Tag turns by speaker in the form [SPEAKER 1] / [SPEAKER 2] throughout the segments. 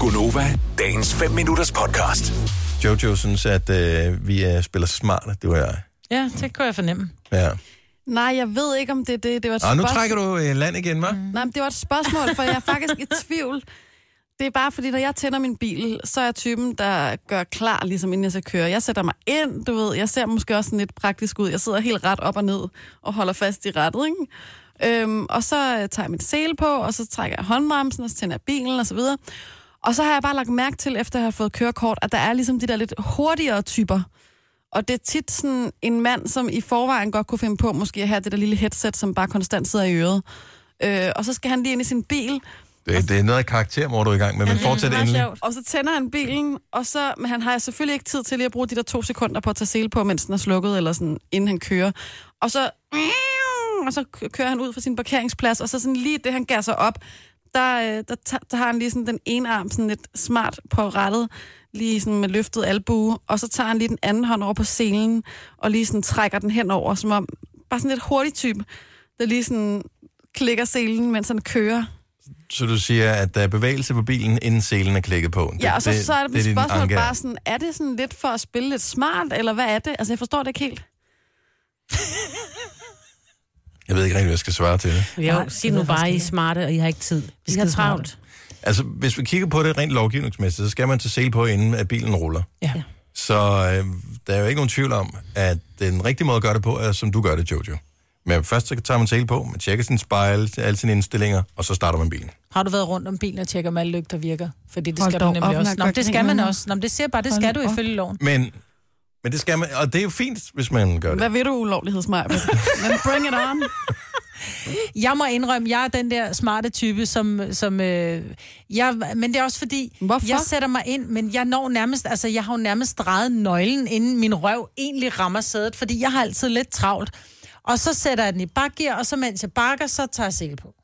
[SPEAKER 1] Gunova, dagens 5 minutters podcast.
[SPEAKER 2] Jojo synes, at øh, vi er spiller smart, det var jeg.
[SPEAKER 3] Ja, det kunne jeg fornemme.
[SPEAKER 2] Ja.
[SPEAKER 4] Nej, jeg ved ikke, om det er det. Det var et,
[SPEAKER 2] Og nu
[SPEAKER 4] spørgsmål.
[SPEAKER 2] trækker du øh, land igen, hva'? Mm.
[SPEAKER 4] Nej, men det var et spørgsmål, for jeg er faktisk i tvivl. Det er bare fordi, når jeg tænder min bil, så er jeg typen, der gør klar, ligesom inden jeg skal køre. Jeg sætter mig ind, du ved. Jeg ser måske også sådan lidt praktisk ud. Jeg sidder helt ret op og ned og holder fast i rettet, ikke? Øhm, og så øh, tager jeg min sele på, og så trækker jeg håndbremsen, og så tænder jeg bilen, og så videre. Og så har jeg bare lagt mærke til, efter jeg har fået kørekort, at der er ligesom de der lidt hurtigere typer. Og det er tit sådan en mand, som i forvejen godt kunne finde på måske at have det der lille headset, som bare konstant sidder i øret. Øh, og så skal han lige ind i sin bil,
[SPEAKER 2] Det, det er noget af karakter, hvor du er i gang med, men fortsæt
[SPEAKER 3] meget
[SPEAKER 2] endelig.
[SPEAKER 3] sjovt.
[SPEAKER 4] og så tænder han bilen, og så, men han har selvfølgelig ikke tid til lige at bruge de der to sekunder på at tage sele på, mens den er slukket, eller sådan, inden han kører. Og så, og så kø- kører han ud fra sin parkeringsplads, og så sådan lige det, han gasser op, der, øh, der, ta- der har han lige sådan den ene arm sådan lidt smart på rettet, lige sådan med løftet albue, og så tager han lige den anden hånd over på selen, og lige sådan trækker den hen over, som om, bare sådan lidt hurtig type, der lige sådan klikker selen, mens han kører.
[SPEAKER 2] Så du siger, at der er bevægelse på bilen, inden selen er klikket på. Det,
[SPEAKER 4] Ja, og så, så er det, det,
[SPEAKER 2] din
[SPEAKER 4] spørgsmål
[SPEAKER 2] anke er.
[SPEAKER 4] bare sådan, er det sådan lidt for at spille lidt smart, eller hvad er det? Altså, jeg forstår det ikke helt.
[SPEAKER 2] Jeg ved ikke rigtig, hvad jeg skal svare til det.
[SPEAKER 5] Jo, sig nu bare, I er smarte, og I har ikke tid. Vi skal travlt.
[SPEAKER 2] Altså, hvis vi kigger på det rent lovgivningsmæssigt, så skal man tage sele på, inden at bilen ruller.
[SPEAKER 3] Ja.
[SPEAKER 2] Så øh, der er jo ikke nogen tvivl om, at den rigtige måde at gøre det på, er som du gør det, Jojo. Men først så tager man sele på, man tjekker sin spejl, alle sine indstillinger, og så starter man bilen.
[SPEAKER 3] Har du været rundt om bilen og tjekker, om alle lygter virker? Fordi det
[SPEAKER 4] Hold
[SPEAKER 3] skal
[SPEAKER 4] dog
[SPEAKER 3] du
[SPEAKER 4] op,
[SPEAKER 3] nemlig
[SPEAKER 4] når
[SPEAKER 3] også.
[SPEAKER 4] jeg
[SPEAKER 3] Nå, men
[SPEAKER 4] gør
[SPEAKER 3] det skal man
[SPEAKER 4] grineren.
[SPEAKER 3] også. Nå, men det siger bare, det
[SPEAKER 4] Hold
[SPEAKER 3] skal du
[SPEAKER 4] op.
[SPEAKER 3] ifølge loven.
[SPEAKER 2] Men, men det skal man, og det er jo fint, hvis man gør det.
[SPEAKER 4] Hvad ved du, ulovlighedsmejr? Men bring it on.
[SPEAKER 3] Jeg må indrømme, jeg er den der smarte type, som... som øh, jeg, men det er også fordi,
[SPEAKER 4] Hvorfor?
[SPEAKER 3] jeg sætter mig ind, men jeg når nærmest... Altså, jeg har jo nærmest drejet nøglen, inden min røv egentlig rammer sædet, fordi jeg har altid lidt travlt. Og så sætter jeg den i bakgear, og så mens jeg bakker, så tager jeg sele på.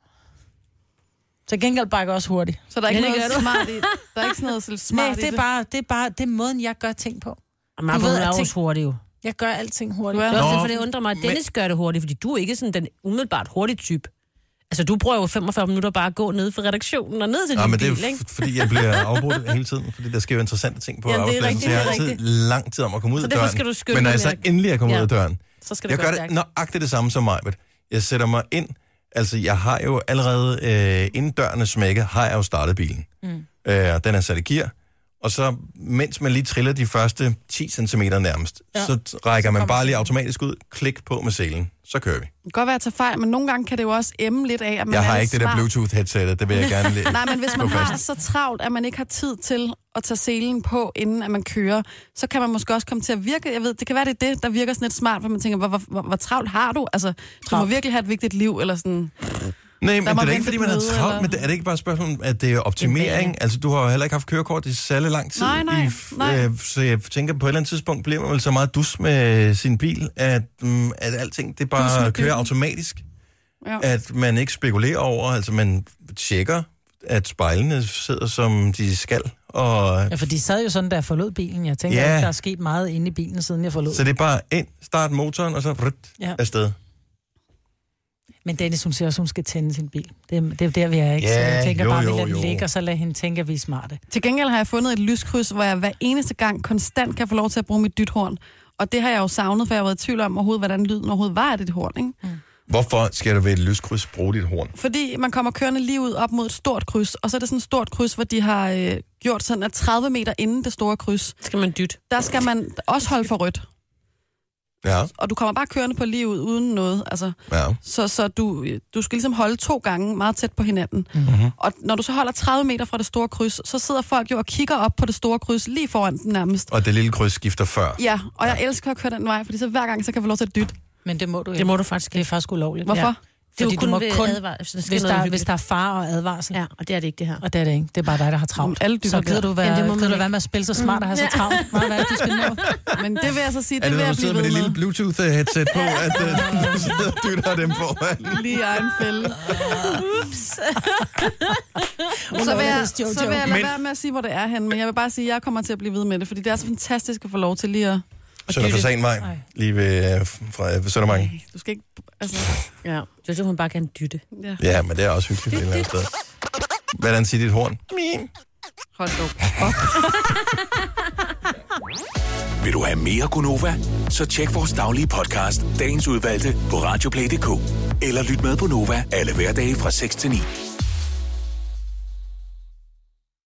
[SPEAKER 3] Så gengæld bakker jeg også hurtigt.
[SPEAKER 4] Så der er ikke
[SPEAKER 3] Ja, det
[SPEAKER 4] noget
[SPEAKER 3] gør du.
[SPEAKER 4] smart i Der er ikke sådan noget så smart
[SPEAKER 3] Nej, det
[SPEAKER 4] i
[SPEAKER 3] er, bare, det er bare det er måden, jeg gør ting på.
[SPEAKER 5] Og man
[SPEAKER 3] Du ved,
[SPEAKER 5] er
[SPEAKER 3] at
[SPEAKER 5] jo
[SPEAKER 3] ting-
[SPEAKER 5] også hurtigt jo.
[SPEAKER 3] Jeg gør alting
[SPEAKER 4] Du
[SPEAKER 3] hurtigt.
[SPEAKER 4] er-
[SPEAKER 5] Det er også
[SPEAKER 2] Nå,
[SPEAKER 5] derfor, det undrer mig, at Dennis gør det hurtigt, fordi du er ikke sådan den umiddelbart hurtige type. Altså, du bruger jo 45 minutter bare at gå ned fra redaktionen og ned til
[SPEAKER 2] Ja,
[SPEAKER 5] din
[SPEAKER 2] men det er
[SPEAKER 5] bil,
[SPEAKER 2] jo
[SPEAKER 5] ikke?
[SPEAKER 2] f- fordi, jeg bliver afbrudt hele tiden, fordi der sker jo interessante ting på
[SPEAKER 5] Ja,
[SPEAKER 2] ja,
[SPEAKER 5] det er
[SPEAKER 2] arbejdspladsen,
[SPEAKER 5] rigtigt,
[SPEAKER 2] så jeg har
[SPEAKER 5] det er
[SPEAKER 2] altid lang tid om at komme ud
[SPEAKER 5] Så
[SPEAKER 2] af
[SPEAKER 5] derfor
[SPEAKER 2] døren.
[SPEAKER 5] skal du skynde
[SPEAKER 2] men når jeg
[SPEAKER 5] dig
[SPEAKER 2] så
[SPEAKER 5] med at-
[SPEAKER 2] endelig er kommet
[SPEAKER 5] Ja.
[SPEAKER 2] ud af døren,
[SPEAKER 5] Så skal det
[SPEAKER 2] jeg
[SPEAKER 5] gå
[SPEAKER 2] gør det
[SPEAKER 5] stærkt.
[SPEAKER 2] nøjagtigt det samme som mig, men jeg sætter mig ind, altså jeg har jo allerede, øh, inden dørene smækker, har jeg jo startet bilen. Mm. Øh, og den er sat i gear, og så mens man lige triller de første 10 cm nærmest, ja.
[SPEAKER 3] Ja.
[SPEAKER 2] så rækker man
[SPEAKER 3] kommer
[SPEAKER 2] bare lige automatisk ud, klik på med selen, så kører vi.
[SPEAKER 4] Det kan godt være, at tage fejl, men nogle gange kan det jo også emme lidt af, at man
[SPEAKER 2] Jeg
[SPEAKER 4] er
[SPEAKER 2] har
[SPEAKER 4] lidt
[SPEAKER 2] ikke det der
[SPEAKER 4] smart.
[SPEAKER 2] Bluetooth-headset, det vil jeg gerne lige
[SPEAKER 4] Nej, men hvis man
[SPEAKER 2] slå fast.
[SPEAKER 4] har så travlt, at man ikke har tid til at tage selen på, inden at man kører, så kan man måske også komme til at virke. Jeg ved, det kan være, det er det, der virker sådan lidt smart, hvor man tænker, hvor, hvor, hvor, hvor travlt har du? Altså, du må
[SPEAKER 3] Travlt.
[SPEAKER 4] virkelig have et vigtigt liv, eller sådan.
[SPEAKER 2] Nej, men det
[SPEAKER 4] må
[SPEAKER 2] er da
[SPEAKER 4] vente
[SPEAKER 2] ikke, fordi
[SPEAKER 4] et
[SPEAKER 2] man har
[SPEAKER 4] møde,
[SPEAKER 2] travlt
[SPEAKER 4] eller-
[SPEAKER 2] men det. Er det ikke bare et spørgsmål om, at det er optimering? Altså, du har jo heller ikke haft kørekort i særlig lang tid.
[SPEAKER 4] Nej, nej,
[SPEAKER 2] i f-
[SPEAKER 4] nej.
[SPEAKER 2] Øh, så jeg tænker, på et eller andet tidspunkt bliver man vel så meget dus med sin bil, at, mm, at alting det bare kører automatisk.
[SPEAKER 4] Ja.
[SPEAKER 2] At man ikke spekulerer over, altså man tjekker, at spejlene sidder, som de skal. Og,
[SPEAKER 3] Ja, for de sad jo sådan, da jeg forlod bilen. Jeg tænker
[SPEAKER 2] Ja.
[SPEAKER 3] ikke, der er sket meget inde i bilen, siden jeg forlod.
[SPEAKER 2] så det er bare ind, start motoren, og så rødt
[SPEAKER 3] Ja.
[SPEAKER 2] afsted.
[SPEAKER 3] Men Dennis, hun siger også, hun skal tænde sin bil. Det, er- det er der, vi er, ikke? så
[SPEAKER 2] Ja,
[SPEAKER 3] jeg tænker
[SPEAKER 2] jo,
[SPEAKER 3] bare, vi
[SPEAKER 2] jo,
[SPEAKER 3] lader den
[SPEAKER 2] jo.
[SPEAKER 3] ligge, og så lader hende tænke, at vi er smarte.
[SPEAKER 4] Til gengæld har jeg fundet et lyskryds, hvor jeg hver eneste gang konstant kan få lov til at bruge mit dythorn. Og det har jeg jo savnet, for jeg har været i tvivl om overhovedet, hvordan lyden overhovedet var af dit horn. Ikke? Mm.
[SPEAKER 2] Hvorfor skal du ved et lyskryds bruge dit horn?
[SPEAKER 4] Fordi man kommer kørende lige ud op mod et stort kryds, og så er det sådan et stort kryds, hvor de har øh, gjort sådan, at 30 meter inden det store kryds,
[SPEAKER 5] Så skal man dytte.
[SPEAKER 4] der skal man også holde for rødt.
[SPEAKER 2] Ja,
[SPEAKER 4] Og du kommer bare kørende på lige ud uden noget. Altså,
[SPEAKER 2] ja.
[SPEAKER 4] så så du, du skal ligesom holde to gange meget tæt på hinanden. Mm-hmm. Og når du så holder 30 meter fra det store kryds, så sidder folk jo og kigger op på det store kryds lige foran den nærmest.
[SPEAKER 2] Og det lille kryds skifter før.
[SPEAKER 4] Ja, og jeg elsker at køre den vej, fordi så hver gang, så kan jeg få lov til at dytte.
[SPEAKER 3] Men det må du ikke.
[SPEAKER 5] Det må du faktisk
[SPEAKER 3] det er
[SPEAKER 5] ikke.
[SPEAKER 3] faktisk ulovligt.
[SPEAKER 4] Hvorfor?
[SPEAKER 3] Ja.
[SPEAKER 4] Ja.
[SPEAKER 5] Det er jo
[SPEAKER 3] Fordi
[SPEAKER 5] kun
[SPEAKER 3] du må
[SPEAKER 5] ved
[SPEAKER 3] kun,
[SPEAKER 5] advarsel.
[SPEAKER 3] hvis der, er- hvis der er far og advarsel.
[SPEAKER 5] Ja, og det er det ikke, det her.
[SPEAKER 3] Og det er det ikke. Det er bare dig, der har travlt.
[SPEAKER 4] Alle dytter
[SPEAKER 3] så gider
[SPEAKER 4] der.
[SPEAKER 3] du være,
[SPEAKER 5] Jamen, det må
[SPEAKER 3] det
[SPEAKER 5] man
[SPEAKER 3] gider du
[SPEAKER 5] ikke.
[SPEAKER 3] være med at spille så smart og have så travlt. Hvad er det, du skal nå?
[SPEAKER 4] Men det vil jeg så sige,
[SPEAKER 2] Er
[SPEAKER 4] det,
[SPEAKER 2] det,
[SPEAKER 4] vil
[SPEAKER 2] når
[SPEAKER 4] jeg
[SPEAKER 2] du sidder
[SPEAKER 4] blive
[SPEAKER 2] med
[SPEAKER 4] ved
[SPEAKER 2] det
[SPEAKER 4] med.
[SPEAKER 2] lille Bluetooth-headset på, at øh, du sidder og dytter dem foran?
[SPEAKER 4] Lige i egen fælde. så, vil jeg,
[SPEAKER 3] Jojo.
[SPEAKER 4] så vil jeg lade være med at sige, hvor det er hen, men jeg vil bare sige, at jeg kommer til at blive ved med det, fordi det er så fantastisk at få lov til lige at...
[SPEAKER 2] Sønder
[SPEAKER 3] dytte.
[SPEAKER 2] Fasanvej,
[SPEAKER 3] Nej.
[SPEAKER 2] lige ved, øh, fra, øh, ved Søndermarken.
[SPEAKER 4] Du skal ikke... Altså,
[SPEAKER 5] Ja. Det er hun bare gerne dytte.
[SPEAKER 4] ja.
[SPEAKER 2] Ja, men det er også hyggeligt et eller andet sted. Hvordan siger dit horn? Mim.
[SPEAKER 4] Hold da op.
[SPEAKER 1] Vil du have mere Gunova? Så tjek vores daglige podcast, dagens udvalgte, på radioplay.dk. Eller lyt med på Nova alle hverdage fra 6 til 9.